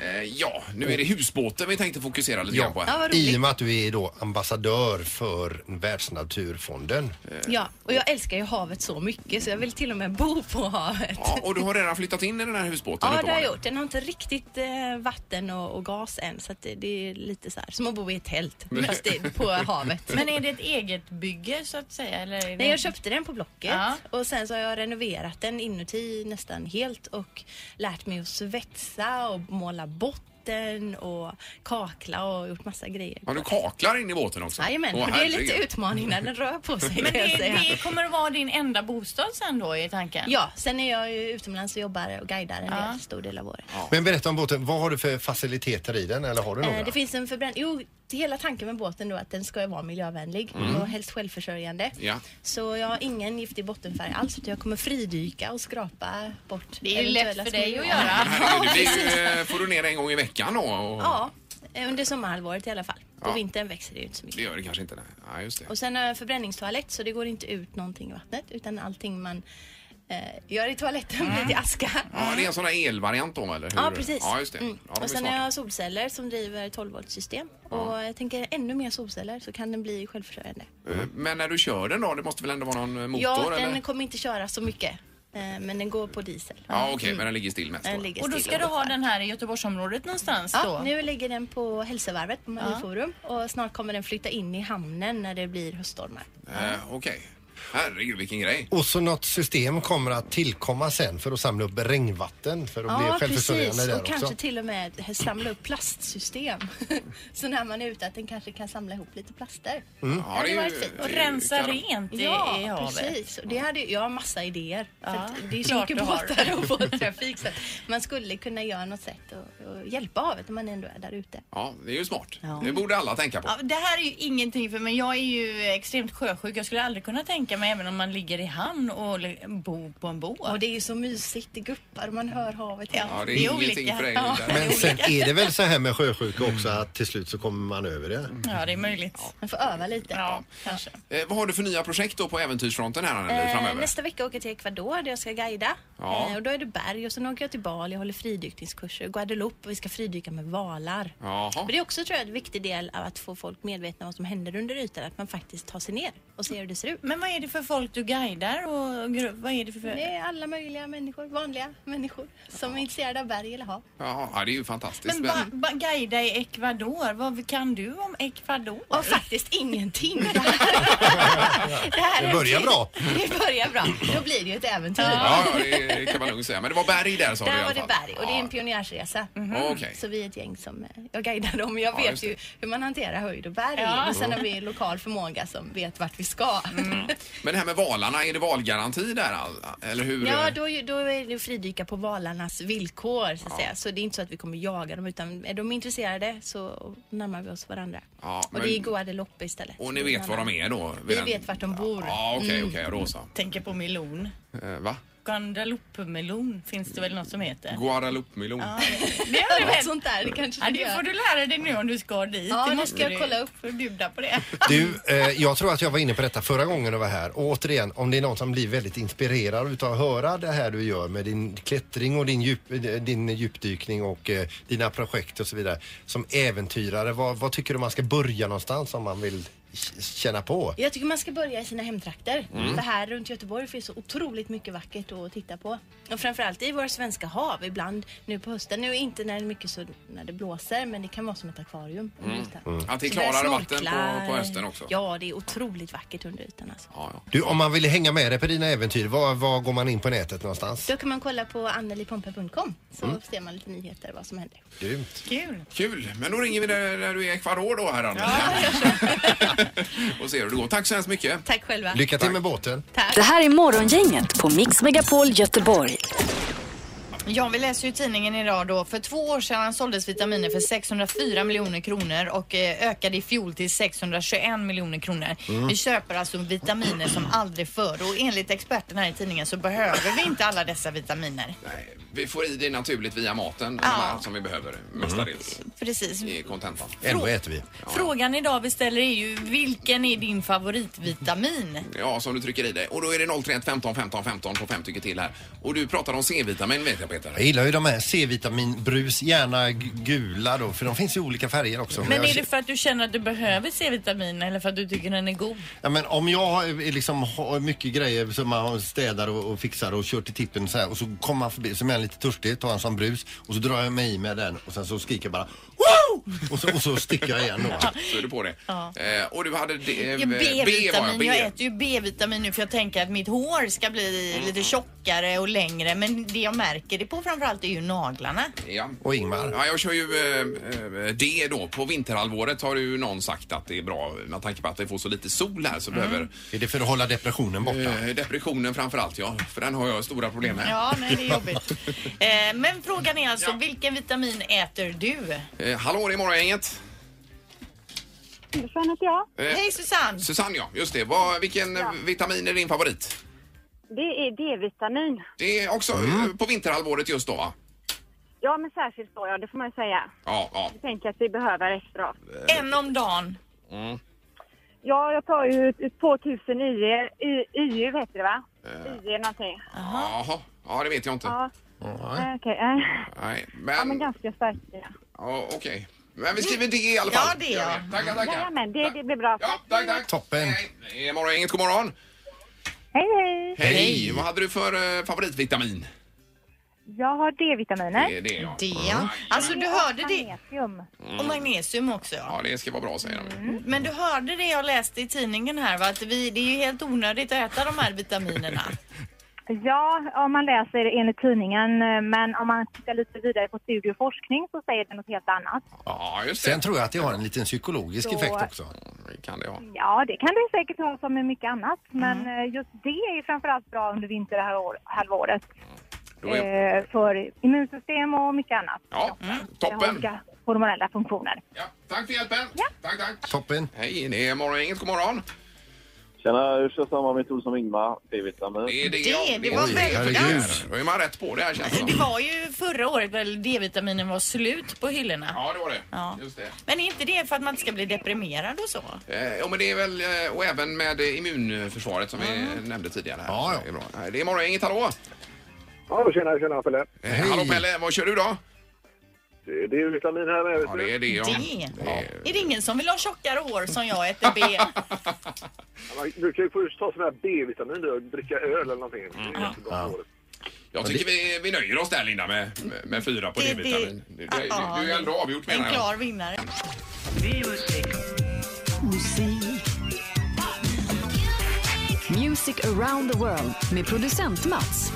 Speaker 3: Eh, ja, nu är det husbåten vi tänkte fokusera lite grann på
Speaker 9: Ja,
Speaker 3: här.
Speaker 9: vad
Speaker 5: I
Speaker 9: roligt.
Speaker 5: och med att du är då ambassadör för Världsnaturfonden.
Speaker 9: Ja, och jag älskar ju havet så mycket så jag vill till och med bo på havet.
Speaker 3: Ja, och du har redan flyttat in i den här husbåten
Speaker 9: Ja, det har
Speaker 3: uppenbarligen.
Speaker 9: jag gjort. Den har inte riktigt eh, vatten och, och gas än så att det, det är lite så här som att bo i ett tält fast det är på havet.
Speaker 6: Men är det ett eget bygge så att säga? Eller är det...
Speaker 9: Nej, jag köpte den på Blocket
Speaker 6: Ja.
Speaker 9: och sen så har jag renoverat den inuti nästan helt och lärt mig att svetsa och måla botten och kakla och gjort massa grejer.
Speaker 3: Ja, du kaklar in i båten också.
Speaker 9: Jajamän,
Speaker 3: Åh,
Speaker 9: och det är lite
Speaker 3: herregud.
Speaker 9: utmaning när den rör på sig
Speaker 6: Men
Speaker 9: kan jag
Speaker 6: det,
Speaker 9: säga.
Speaker 6: det kommer att vara din enda bostad sen då i tanken?
Speaker 9: Ja, sen är jag ju utomlands och jobbar och guidar en del, stor del av året.
Speaker 5: Men berätta om båten, vad har du för faciliteter i den eller har du några?
Speaker 9: Eh, Det finns en förbränning. Jo, det- hela tanken med båten då är att den ska ju vara miljövänlig och helst självförsörjande.
Speaker 3: Mm. Ja.
Speaker 9: Så jag har ingen giftig bottenfärg alls utan jag kommer fridyka och skrapa bort
Speaker 6: Det är ju lätt
Speaker 9: eventuella
Speaker 6: för dig
Speaker 9: små-
Speaker 6: att göra.
Speaker 3: Herregud, det blir ju, eh, får du ner en gång i veckan då? Och...
Speaker 9: Ja, eh, under sommarhalvåret i alla fall. På
Speaker 3: Ja.
Speaker 9: vintern växer det ju inte så mycket.
Speaker 3: Det gör det kanske inte. Nej, ja, just det.
Speaker 9: Och sen har jag en förbränningstoalett så det går inte ut någonting i vattnet utan allting man eh, gör i toaletten blir till aska.
Speaker 3: Mm. Ja, det är en sån här elvariant då eller? Hur?
Speaker 9: Ja, precis.
Speaker 3: Ja, just det.
Speaker 9: Mm.
Speaker 3: Ja, de är
Speaker 9: och sen
Speaker 3: smarta.
Speaker 9: har jag solceller som driver 12 volt system. Och jag tänker ännu mer solceller så kan den bli självförsörjande.
Speaker 3: Eh, Men när du kör den då, det måste väl ändå vara någon eh, motor
Speaker 9: ja, den
Speaker 3: eller?
Speaker 9: kommer inte köra så mycket. eh, Men den går på diesel. Mm.
Speaker 3: Ja, okej, men den ligger still mest
Speaker 9: Den
Speaker 3: då.
Speaker 9: ligger
Speaker 6: Och då
Speaker 9: still
Speaker 6: ska du ha
Speaker 9: ungefär.
Speaker 6: den här i Göteborgsområdet någonstans
Speaker 9: Ja,
Speaker 6: då?
Speaker 9: nu ligger den på Hälsovarvet på Marieforum och snart kommer den flytta in i hamnen när det blir höststormar.
Speaker 3: Eh, okej. Herregud, vilken grej.
Speaker 5: Och så något system kommer att tillkomma sen för att samla upp regnvatten för att
Speaker 9: Ja,
Speaker 5: bli
Speaker 9: precis.
Speaker 5: självförsörjande där
Speaker 9: Och kanske
Speaker 5: också.
Speaker 9: till och med samla upp plastsystem. så när man är ute att den kanske kan samla ihop lite plaster.
Speaker 5: Mm.
Speaker 3: Ja,
Speaker 9: det
Speaker 3: är
Speaker 9: var
Speaker 3: ju-
Speaker 9: ett fint.
Speaker 6: Och
Speaker 3: det är ju
Speaker 6: rensa
Speaker 3: kanon.
Speaker 6: rent i,
Speaker 9: Ja,
Speaker 6: i havet?
Speaker 9: precis. Och det hade, jag har massa idéer. För att det är så
Speaker 6: klart
Speaker 9: mycket
Speaker 6: du har.
Speaker 9: båtar och båttrafik. Så att man skulle kunna göra något sätt att att hjälpa havet om man ändå är där ute.
Speaker 3: Ja, det är ju smart. Det borde alla tänka på.
Speaker 6: Ja, det här är ju ingenting för mig. Jag är ju extremt sjösjuk. Jag skulle aldrig kunna tänka mig, även om man ligger i hamn och li- bor på en båt.
Speaker 9: Och det är ju så mysigt, det guppar och man hör havet.
Speaker 3: Ja, det är,
Speaker 6: det är
Speaker 3: ingenting
Speaker 6: olika.
Speaker 3: för dig.
Speaker 6: Ja.
Speaker 3: Linda.
Speaker 5: Men sen är det väl så här med sjösjuka också att till slut så kommer man över det.
Speaker 6: Ja, det är möjligt.
Speaker 9: Man får öva lite.
Speaker 6: Ja, kanske.
Speaker 3: Eh, vad har du för nya projekt då på äventyrsfronten här eh,
Speaker 9: Eh,
Speaker 3: framöver?
Speaker 9: Nästa vecka åker jag till Ecuador där jag ska guida.
Speaker 3: Ja.
Speaker 9: Eh, och då är det berg och sen åker jag till Bali och håller fridykningskurser. Guadeloupe och vi ska fridyka med valar.
Speaker 3: Jaha.
Speaker 9: Men det är också tror jag en viktig del av att få folk medvetna om vad som händer under ytan. Att man faktiskt tar sig ner och ser hur det ser ut.
Speaker 6: Men vad är det för folk du guidar och gru- vad är det för...
Speaker 9: Det är alla möjliga människor, vanliga människor som är intresserade av berg eller hav.
Speaker 3: Ja, ja, det är ju fantastiskt.
Speaker 6: Men
Speaker 3: Men,
Speaker 6: ba, ba, guida i Ecuador, vad kan du om Ecuador?
Speaker 9: Och faktiskt ingenting. Det, här är-
Speaker 5: Det börjar bra.
Speaker 9: Det börjar bra. Då blir det ju ett äventyr.
Speaker 3: ja, ja, det kan man lugnt säga. Men det var berg där sa du i
Speaker 9: Där var
Speaker 3: alla
Speaker 9: det
Speaker 3: fall.
Speaker 9: berg och det är en
Speaker 3: Ja. Mhm.
Speaker 9: pionjärsresa. Mm.
Speaker 3: Okej.
Speaker 9: Så vi är ett gäng som eh, jag guidar dem. Jag
Speaker 3: Ja,
Speaker 9: vet
Speaker 3: just det.
Speaker 9: ju hur man hanterar höjd och berg
Speaker 6: Ja.
Speaker 9: och sen har vi lokal förmåga som vet vart vi ska.
Speaker 3: Mm. Men det här med valarna, är det valgaranti där? all- Eller hur?
Speaker 9: Ja, då, är- då är det fridyka på valarnas villkor så att säga. Så det är inte så att vi kommer jaga dem utan är de intresserade så närmar vi oss varandra.
Speaker 3: Ja,
Speaker 9: och det är
Speaker 3: men-
Speaker 9: Guadeloupe istället.
Speaker 3: Och ni vet var de är då?
Speaker 9: Vi vet vart de bor. Mm.
Speaker 3: Ja, okej, okej, Rosa.
Speaker 6: Tänker på melon.
Speaker 3: Eh, va?
Speaker 6: Guadeloupe-melon finns det väl något som heter?
Speaker 3: Guadalupe-melon.
Speaker 6: Det har du
Speaker 9: Något
Speaker 6: väl?
Speaker 9: sånt där, det kanske
Speaker 6: Ja, det
Speaker 9: vi gör.
Speaker 6: får du lära dig nu om du ska dit.
Speaker 9: Ja, det
Speaker 6: måste
Speaker 9: ska jag
Speaker 6: du
Speaker 9: kolla upp.
Speaker 6: Får bjuda på det.
Speaker 5: Du, eh, jag tror att jag var inne på detta förra gången du var här. Och återigen, om det är någon som blir väldigt inspirerad utav att höra det här du gör med din klättring och din, djup, din djupdykning och eh, dina projekt och så vidare. Som äventyrare, vad, vad tycker du man ska börja någonstans om man vill k- känna på?
Speaker 9: Jag tycker man ska börja i sina hemtrakter.
Speaker 3: Mm.
Speaker 9: För här runt Göteborg finns så otroligt mycket vackert att titta på. Och framförallt i våra svenska hav ibland nu på hösten. Nu inte när det är mycket så när det blåser men det kan vara som ett akvarium under ytan.
Speaker 3: Att Mm. det är
Speaker 9: Så där
Speaker 3: klarare vatten
Speaker 9: snorklar.
Speaker 3: på, på hösten också?
Speaker 9: Ja, det är otroligt vackert under ytan alltså.
Speaker 3: Ja, ja.
Speaker 5: Du, om man vill hänga med dig på dina äventyr, var, var går man in på nätet någonstans?
Speaker 9: Då kan man kolla på annelipompe.com så
Speaker 3: Mm.
Speaker 9: ser man lite nyheter vad som händer.
Speaker 5: Grymt.
Speaker 6: Kul.
Speaker 3: Kul! Men då ringer vi när när du är i Ecuador då, här Anna. Och ser hur det går. Tack så hemskt mycket.
Speaker 9: Tack själva.
Speaker 5: Lycka till med båten.
Speaker 1: Det här är Morgongänget på Mix Megapol Göteborg.
Speaker 6: Ja, vi läser ju i tidningen idag då. För två år sedan såldes vitaminer för 604 miljoner kronor och eh, ökade i fjol till 621 miljoner kronor.
Speaker 3: Mm.
Speaker 6: Vi köper alltså vitaminer som aldrig förr och enligt experterna här i tidningen så behöver vi inte alla dessa vitaminer.
Speaker 3: Nej, vi får i det naturligt via maten, de här som vi
Speaker 5: Mm.
Speaker 3: behöver mestadels.
Speaker 6: Precis.
Speaker 3: Det är kontentan.
Speaker 5: Ändå äter vi.
Speaker 6: Frågan idag vi ställer är ju vilken är din favoritvitamin?
Speaker 3: Ja, som du trycker i dig. Och då är det 031 15 15 15 på fem tycker till här. Och du pratar om C-vitamin vet jag Peter.
Speaker 5: Jag gillar ju de här C-vitaminbrus, gärna g- gula då, för de finns i olika färger också.
Speaker 6: Men
Speaker 5: jag
Speaker 6: är det för att du känner att du behöver C-vitamin eller för att du tycker den är god?
Speaker 5: Ja, men om jag har, eh, liksom har mycket grejer som man har städar och, och fixar och kör till tippen så här, och så kommer man förbi, så är jag lite törstig, tar en sån brus och så drar jag mig i med den och sen så skriker jag bara Wow! Och så, och så sticker jag igen då. typ.
Speaker 3: Så är du på det. Eh, och du hade D, eh,
Speaker 6: Ja,
Speaker 3: var jag.
Speaker 6: B-vitamin.
Speaker 3: B.
Speaker 6: Jag äter ju B-vitamin nu för jag tänker att mitt hår ska bli
Speaker 3: Mm.
Speaker 6: lite tjockare och längre. Men det jag märker det på framförallt är ju naglarna.
Speaker 3: Ja.
Speaker 5: Och Ingmar.
Speaker 3: Ja, jag kör ju eh, eh, D då. På vinterhalvåret har ju någon sagt att det är bra med tanke på att vi får så lite sol här så behöver
Speaker 5: Är det för att hålla depressionen borta?
Speaker 3: eh, depressionen framför allt ja. För den har jag stora problem med.
Speaker 6: Ja, nej, det är jobbigt. eh, men frågan är alltså, vilken vitamin äter du?
Speaker 3: Eh, hallå, det är Morgongänget.
Speaker 10: Sen heter jag.
Speaker 3: Eh,
Speaker 6: Hej Susanne!
Speaker 3: Susanne ja, just det. Vad, vilken eh, vitamin är din favorit?
Speaker 10: Det är D-vitamin.
Speaker 3: Det är också eh, på vinterhalvåret just då va?
Speaker 10: Ja, men särskilt då, ja, det får man ju säga.
Speaker 3: Ja, ja.
Speaker 10: Jag tänker att vi behöver extra.
Speaker 3: Eh.
Speaker 6: En om dagen.
Speaker 10: Ja, jag tar ju 2009, E, I- IU heter det va?
Speaker 3: Eh.
Speaker 10: IG någonting.
Speaker 3: Jaha, ja det vet jag inte.
Speaker 10: Ja,
Speaker 3: Nej.
Speaker 10: eh, okej. eh.
Speaker 3: Nej,
Speaker 10: Ja, men
Speaker 3: men
Speaker 10: ganska starkt. Ja.
Speaker 3: ja, okej. Men vi skriver D i alla fall.
Speaker 10: Ja, det ja.
Speaker 3: Gör vi. Tackar, tackar.
Speaker 10: Jajamän, det, det blir bra.
Speaker 3: Ja, tack, tack. Toppen. Hej, morgon, inget god morgon.
Speaker 10: Hej, hej.
Speaker 3: Hej. Vad hade du för eh, favoritvitamin?
Speaker 10: Jag har D-vitaminer.
Speaker 3: Det är det, ja.
Speaker 10: ja.
Speaker 11: Alltså du hörde det.
Speaker 10: Magnesium.
Speaker 3: Mm.
Speaker 11: Och magnesium också ja.
Speaker 3: Ja, det ska vara bra säger de.
Speaker 6: Mm.
Speaker 11: Men du hörde det jag läste i tidningen här va? Att vi, det är ju helt onödigt att äta de här vitaminerna.
Speaker 10: Ja, om man läser enligt tidningen, eh, men om man tittar lite vidare på studie och forskning så säger det något helt annat.
Speaker 3: Ja, just
Speaker 5: Sen tror jag att det har en liten psykologisk
Speaker 10: Så-
Speaker 5: effekt också.
Speaker 3: Det kan det ha.
Speaker 10: Ja, det kan det säkert ha som med mycket annat,
Speaker 3: Mm.
Speaker 10: men eh, just det är framförallt bra under vinterhalvåret.
Speaker 3: Då är-
Speaker 10: Eh, för immunsystem och mycket annat.
Speaker 3: Ja,
Speaker 10: Det har
Speaker 3: toppen.
Speaker 10: olika hormonella funktioner.
Speaker 3: Tack för hjälpen. Tack, tack.
Speaker 5: Toppen.
Speaker 3: Hej, det är morgon, inget god morgon.
Speaker 12: Tjena, jag kör samma metod som Ingmar. D-vitamin.
Speaker 3: Det är det,
Speaker 11: Det- det var Oj, väldigt- herregud.
Speaker 3: Då är man rätt på det här känns det
Speaker 11: Det
Speaker 3: som.
Speaker 11: var ju förra året väl D-vitaminen var slut på hyllorna.
Speaker 3: Ja, det var det.
Speaker 11: Ja.
Speaker 3: Just det.
Speaker 11: Men är inte det för att man inte ska bli deprimerad och så?
Speaker 3: Eh, Ja, men det är väl, eh, och även med eh, immunförsvaret som vi nämnde tidigare. Här. Ja, ja. Det är, bra. Nej, det är morgon, inget hallå!
Speaker 12: Ja, tjena, tjena Pelle.
Speaker 3: Eh, Hallå Pelle, vad kör du då?
Speaker 12: Det det är ju vitamin här med.
Speaker 3: Ja, det är det ja.
Speaker 11: Det.
Speaker 3: Ja.
Speaker 11: Är det ingen som vill ha tjockare hår som jag äter B?
Speaker 12: Man- Du kan ju först ta sån här B-vitamin du, och dricka öl eller någonting. Det är jättebra för håret.
Speaker 3: Jag tycker vi, vi nöjer oss där Linda med, med, med fyra på
Speaker 11: Det-
Speaker 3: D-vitamin.
Speaker 11: det-
Speaker 3: Du, du, du, du är ju ändå avgjort
Speaker 11: En
Speaker 3: menar jag.
Speaker 11: klar vinnare.
Speaker 1: Music around the world med producent Mats.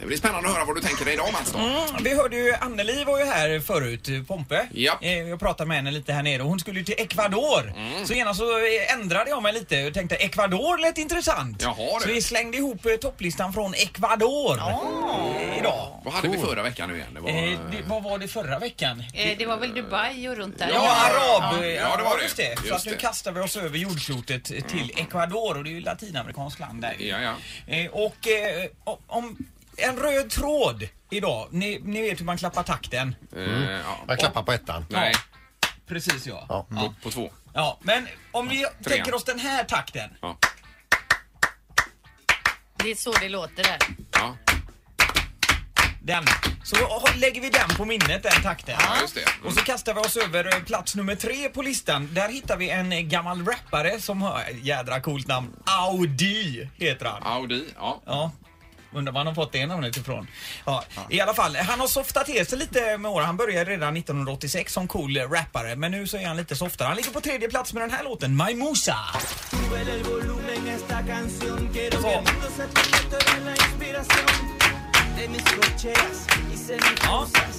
Speaker 3: Det blir spännande att höra vad du tänker dig idag Mats. då.
Speaker 4: Mm, vi hörde ju Anneli var ju här förut, eh, Pompe. Eh, Jag pratade med henne lite här nere och hon skulle ju till Ecuador.
Speaker 3: Mm.
Speaker 4: Så genast så eh, ändrade jag mig lite och tänkte Ecuador lät intressant.
Speaker 3: Jaha,
Speaker 4: så
Speaker 3: du.
Speaker 4: vi slängde ihop eh, topplistan från Ecuador eh, idag.
Speaker 3: Vad hade vi förra veckan nu igen? Det var...
Speaker 4: Eh, det, vad var det förra veckan?
Speaker 13: Eh, Det var väl Dubai och runt där?
Speaker 4: Ja, arab...
Speaker 3: Ja, det var det.
Speaker 4: Just det. så
Speaker 3: Just
Speaker 4: att nu
Speaker 3: det. Mm.
Speaker 4: kastar vi oss över jordklotet till Ecuador och det är ju latinamerikanskt land där.
Speaker 3: Ja, ja.
Speaker 4: Eh, Och eh, o- om en röd tråd idag. Ni, ni vet hur man klappar takten.
Speaker 3: eh,
Speaker 5: Mm. Man klappar på ettan.
Speaker 4: Nej. Precis ja.
Speaker 5: Ja.
Speaker 3: På, på två.
Speaker 4: Ja, men om vi
Speaker 3: Tre.
Speaker 4: tänker oss den här takten.
Speaker 11: Det är så det låter där.
Speaker 3: Ja.
Speaker 4: Den. Så ha- lägger vi den på minnet, den takten.
Speaker 3: Ja, just det. Mm.
Speaker 4: Och så kastar vi oss över eh, plats nummer tre på listan. Där hittar vi en eh, gammal rappare som har ett jädra coolt namn. Audi heter han.
Speaker 3: Mm. Audi, ja.
Speaker 4: ja. Undrar var han har fått det namnet ifrån. Ja, I alla fall, han har softat till sig lite med åren. Han började redan 1986 som cool eh, rappare, men nu så är han lite softare. Han ligger på tredje plats med den här låten, My Musa.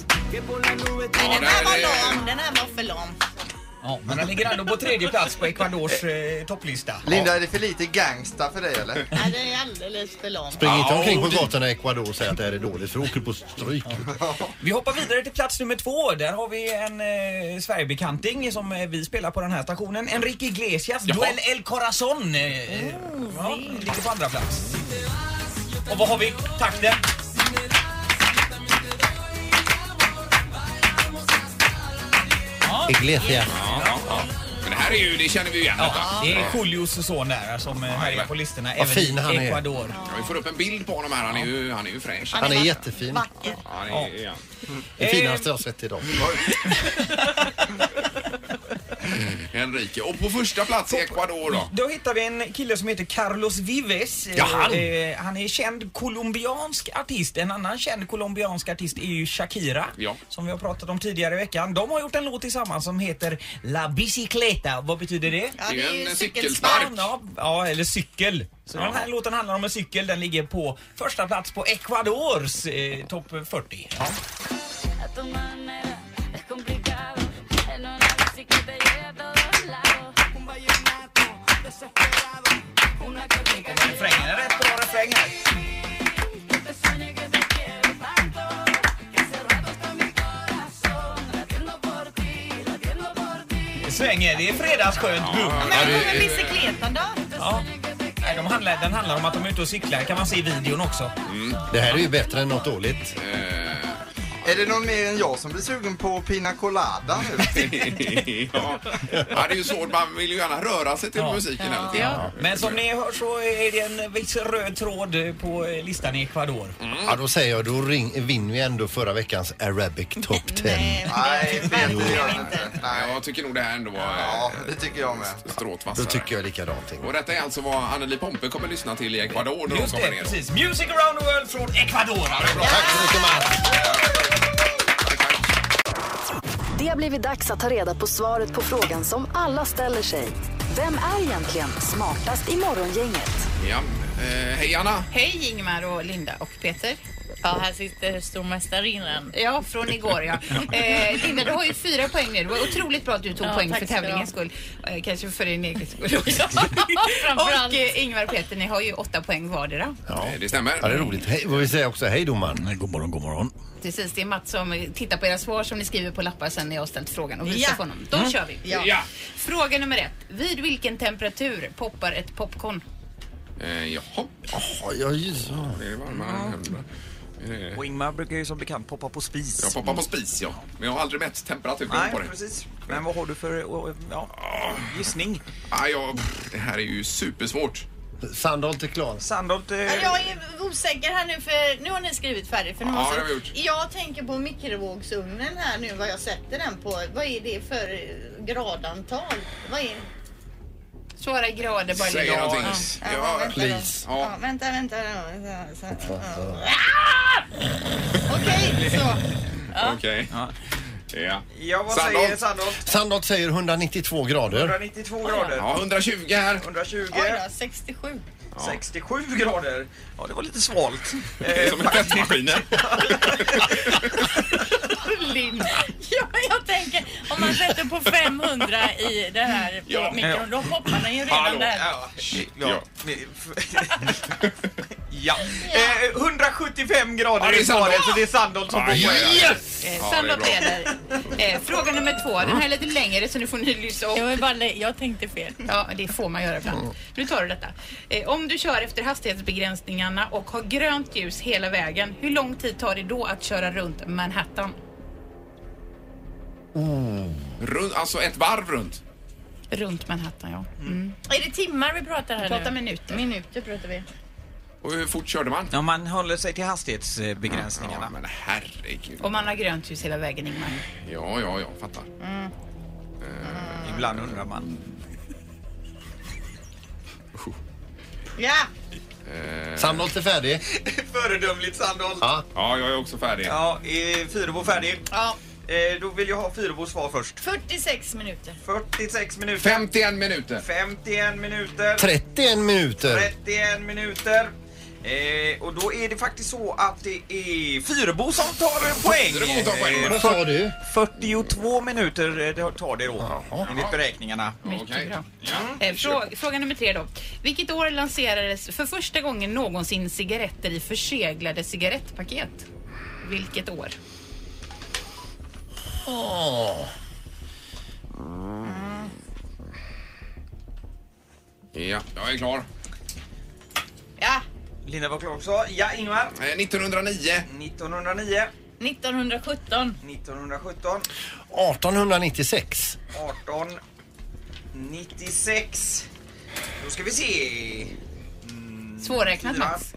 Speaker 11: Nej, den
Speaker 4: det
Speaker 11: här
Speaker 4: är-
Speaker 11: var lam. Den här var för lam.
Speaker 4: Ja, men han ligger ändå på tredje plats på Ecuadors eh, topplista.
Speaker 7: Linda, är det för lite gangsta för dig eller?
Speaker 11: Nej, den är alldeles för lam.
Speaker 5: Spring inte omkring på gatorna i Ecuador och säg att det här är dåligt för då åker du på stryk.
Speaker 4: Vi hoppar vidare till plats nummer två. Där har vi en eh, Sverigebekanting som eh, vi spelar på den här stationen. Enrique Iglesias,
Speaker 2: Jaha.
Speaker 4: Duell El Corazon. Eh, ja, ligger på andra plats. Och vad har vi? Takten.
Speaker 5: Iglesias.
Speaker 3: Ja, ja, ja. Men det här är ju, det känner vi ju igen
Speaker 4: Ja, det är Julius son där som eh, härjar på listorna. Även i Ecuador.
Speaker 3: Ja, vi får upp en bild på honom här. Han är ju, han är ju fräsch.
Speaker 5: Han är jättefin.
Speaker 3: Ja, han är, ja.
Speaker 5: Det finaste jag har sett idag.
Speaker 3: Enrique. Och på första plats i Ecuador då.
Speaker 4: Då hittar vi en kille som heter Carlos Vives.
Speaker 3: Ja, han.
Speaker 4: Eh, han är känd colombiansk artist. En annan känd colombiansk artist är ju Shakira.
Speaker 3: Ja.
Speaker 4: Som vi har pratat om tidigare i veckan. De har gjort en låt tillsammans som heter La Bicicleta. Vad betyder det?
Speaker 3: Ja, det är ju en cykelspark.
Speaker 4: Ja, ja, eller cykel. Så
Speaker 3: Ja.
Speaker 4: den här låten handlar om en cykel. Den ligger på första plats på Ecuadors eh, topp 40. Ja. Refrängen är rätt bra refräng här. Det svänger. Det är fredagsskönt bugg.
Speaker 11: Men vad med bicicletan då?
Speaker 4: Ja. Nej, de handlar, den handlar om att de är ute och cyklar. kan man se i videon också.
Speaker 5: Det här är ju bättre än något dåligt.
Speaker 14: Är det någon mer än jag som blir sugen på Pina Colada nu?
Speaker 3: ja. ja, det är ju svårt. Man vill ju gärna röra sig till musiken hela tiden.
Speaker 15: Men som ni hör så är det en viss röd tråd på listan i Ecuador.
Speaker 5: Ja, då säger jag, då ring, vinner vi ändå förra veckans Arabic Top 10.
Speaker 14: Nej, det gör
Speaker 3: jag inte. Nej, jag tycker nog det här ändå var...
Speaker 14: Ja, det tycker jag med.
Speaker 3: Stråt
Speaker 5: Då
Speaker 3: vassare.
Speaker 5: tycker jag likadant. Ingemar.
Speaker 3: Och detta är alltså vad Anneli Pompe kommer lyssna till i Ecuador när hon
Speaker 15: Just
Speaker 3: kommer
Speaker 15: det,
Speaker 3: ner.
Speaker 15: precis. Music around the world från Ecuador.
Speaker 5: Tack så mycket Mats.
Speaker 1: Det har blivit dags att ta reda på svaret på frågan som alla ställer sig. Vem är egentligen smartast i Morgongänget?
Speaker 3: Ja. Eh, hej Anna!
Speaker 6: Hej Ingmar och Linda och Peter. Ja, här sitter stormästarinnan. Ja, från igår ja. Eh, Linda, du har ju fyra poäng nu. Det var otroligt bra att du tog
Speaker 9: Ja,
Speaker 6: poäng
Speaker 9: tack
Speaker 6: för
Speaker 9: ska du ha.
Speaker 6: tävlingens skull. Eh, kanske för din egen skull också. och eh, Ingmar och Peter, ni har ju åtta poäng vardera.
Speaker 5: Ja.
Speaker 3: Eh, Det stämmer.
Speaker 5: Ja, det är roligt. Hej, vad vi säger också, hej domaren. God morgon, god morgon.
Speaker 6: Precis, det är Mats som tittar på era svar som ni skriver på lappar sen när jag har ställt frågan och visar
Speaker 9: Ja.
Speaker 6: på honom. Då
Speaker 9: Mm.
Speaker 6: kör vi.
Speaker 9: Ja. Ja.
Speaker 6: Fråga nummer ett. Vid vilken temperatur poppar ett popcorn?
Speaker 3: Eh, jaha.
Speaker 5: Oh, ja, just så.
Speaker 3: Det är varmare än händerna.
Speaker 16: Och Ingmar brukar ju som bekant poppa på spis.
Speaker 3: Jag poppar på spis, ja. Men jag har aldrig mätt temperaturen
Speaker 16: Nej,
Speaker 3: på det.
Speaker 16: precis. Men vad har du för eh, ja, gissning?
Speaker 3: Ah, ja, pff, det här är ju supersvårt.
Speaker 5: Sandholt är klar.
Speaker 16: Sandholt... Eh,
Speaker 9: Jag är osäker här nu för nu har ni skrivit färdigt. För nu
Speaker 3: Ja,
Speaker 9: måste...
Speaker 3: det har vi gjort.
Speaker 9: Jag tänker på mikrovågsugnen här nu vad jag sätter den på. Vad är det för eh, gradantal? Vad är...
Speaker 6: Svara i grader bara.
Speaker 3: Säg
Speaker 6: Linda.
Speaker 3: någonting.
Speaker 9: Ja,
Speaker 3: Ja,
Speaker 9: vänta då.
Speaker 5: please.
Speaker 9: Ja.
Speaker 3: Ja.
Speaker 9: vänta, vänta. då. Så, så. Okej, så.
Speaker 3: Okej. Ja.
Speaker 16: Ja, vad
Speaker 3: Sandholt.
Speaker 16: säger Sandholt?
Speaker 5: Sandholt säger 192 grader.
Speaker 16: 192 grader.
Speaker 3: Ja, 120 här.
Speaker 16: 120.
Speaker 9: Oj då, 67.
Speaker 16: 67 grader. Ja, det var lite svalt.
Speaker 3: Det är som en tvättmaskin.
Speaker 9: Lind. Ja, jag tänker om man sätter på 500 i det här
Speaker 3: Ja.
Speaker 9: ja. mikron, då hoppar den ju
Speaker 16: Hallå.
Speaker 9: redan där.
Speaker 16: Ja, ja. ja. Eh, 175 grader
Speaker 3: Ja, det är
Speaker 16: är svaret,
Speaker 3: Sandholt.
Speaker 16: så det är Sandholt som
Speaker 3: Ja,
Speaker 16: får poäng.
Speaker 3: Yes!
Speaker 6: Eh,
Speaker 3: Ja, det är
Speaker 6: Sandra
Speaker 3: bra.
Speaker 6: Peder. Eh, fråga nummer två. Den här är lite längre så nu får ni lyssna upp.
Speaker 9: Jag, vill bara, lä- jag tänkte fel.
Speaker 6: Ja, det får man göra ibland. Nu tar du detta. Eh, om du kör efter hastighetsbegränsningarna och har grönt ljus hela vägen, hur lång tid tar det då att köra runt Manhattan?
Speaker 3: Runt, alltså ett varv runt.
Speaker 6: Runt Manhattan, ja. Mm.
Speaker 9: Är det timmar vi pratar här
Speaker 6: Prata
Speaker 9: nu?
Speaker 6: minuter.
Speaker 9: Minuter pratar vi.
Speaker 3: Och hur fort körde man?
Speaker 16: Ja, man håller sig till hastighetsbegränsningarna.
Speaker 3: Ja, men herregud.
Speaker 6: Om man har grönt ljus hela vägen, Ingmar.
Speaker 3: Ja, ja, jag fattar.
Speaker 16: Ibland undrar man.
Speaker 9: Ja!
Speaker 5: Sandholt är färdig.
Speaker 16: Föredömligt Sandholt.
Speaker 5: Ja.
Speaker 3: Ja, jag är också färdig.
Speaker 16: Ja, eh, Fyrebo färdig.
Speaker 9: ja.
Speaker 16: Eh, då vill jag ha Fyrebos svar först.
Speaker 9: 46 minuter.
Speaker 16: 46 minuter.
Speaker 3: 51 minuter.
Speaker 16: 51 minuter.
Speaker 5: 31 minuter.
Speaker 16: 31 minuter. Eh, och då är det faktiskt så att det är Fyrebo som tar poäng.
Speaker 3: Fyrebo tar poäng.
Speaker 16: Eh,
Speaker 5: Vad sa du?
Speaker 16: 42 minuter eh, det tar det då, enligt beräkningarna.
Speaker 6: Mycket
Speaker 3: Okej.
Speaker 6: bra.
Speaker 3: Ja.
Speaker 6: Eh, frå- fråga nummer tre då. Vilket år lanserades för första gången någonsin cigaretter i förseglade cigarettpaket? Vilket år?
Speaker 5: Åh.
Speaker 3: ja, jag är klar.
Speaker 9: Ja,
Speaker 16: Linda var klar också. Ja, Ingmar.
Speaker 3: Eh, 1909.
Speaker 16: 1909,
Speaker 9: 1917.
Speaker 16: 1917,
Speaker 5: 1896.
Speaker 16: 18, 96. Då ska vi se. Mm,
Speaker 6: Svårräknat,
Speaker 16: fyra.
Speaker 6: Mats.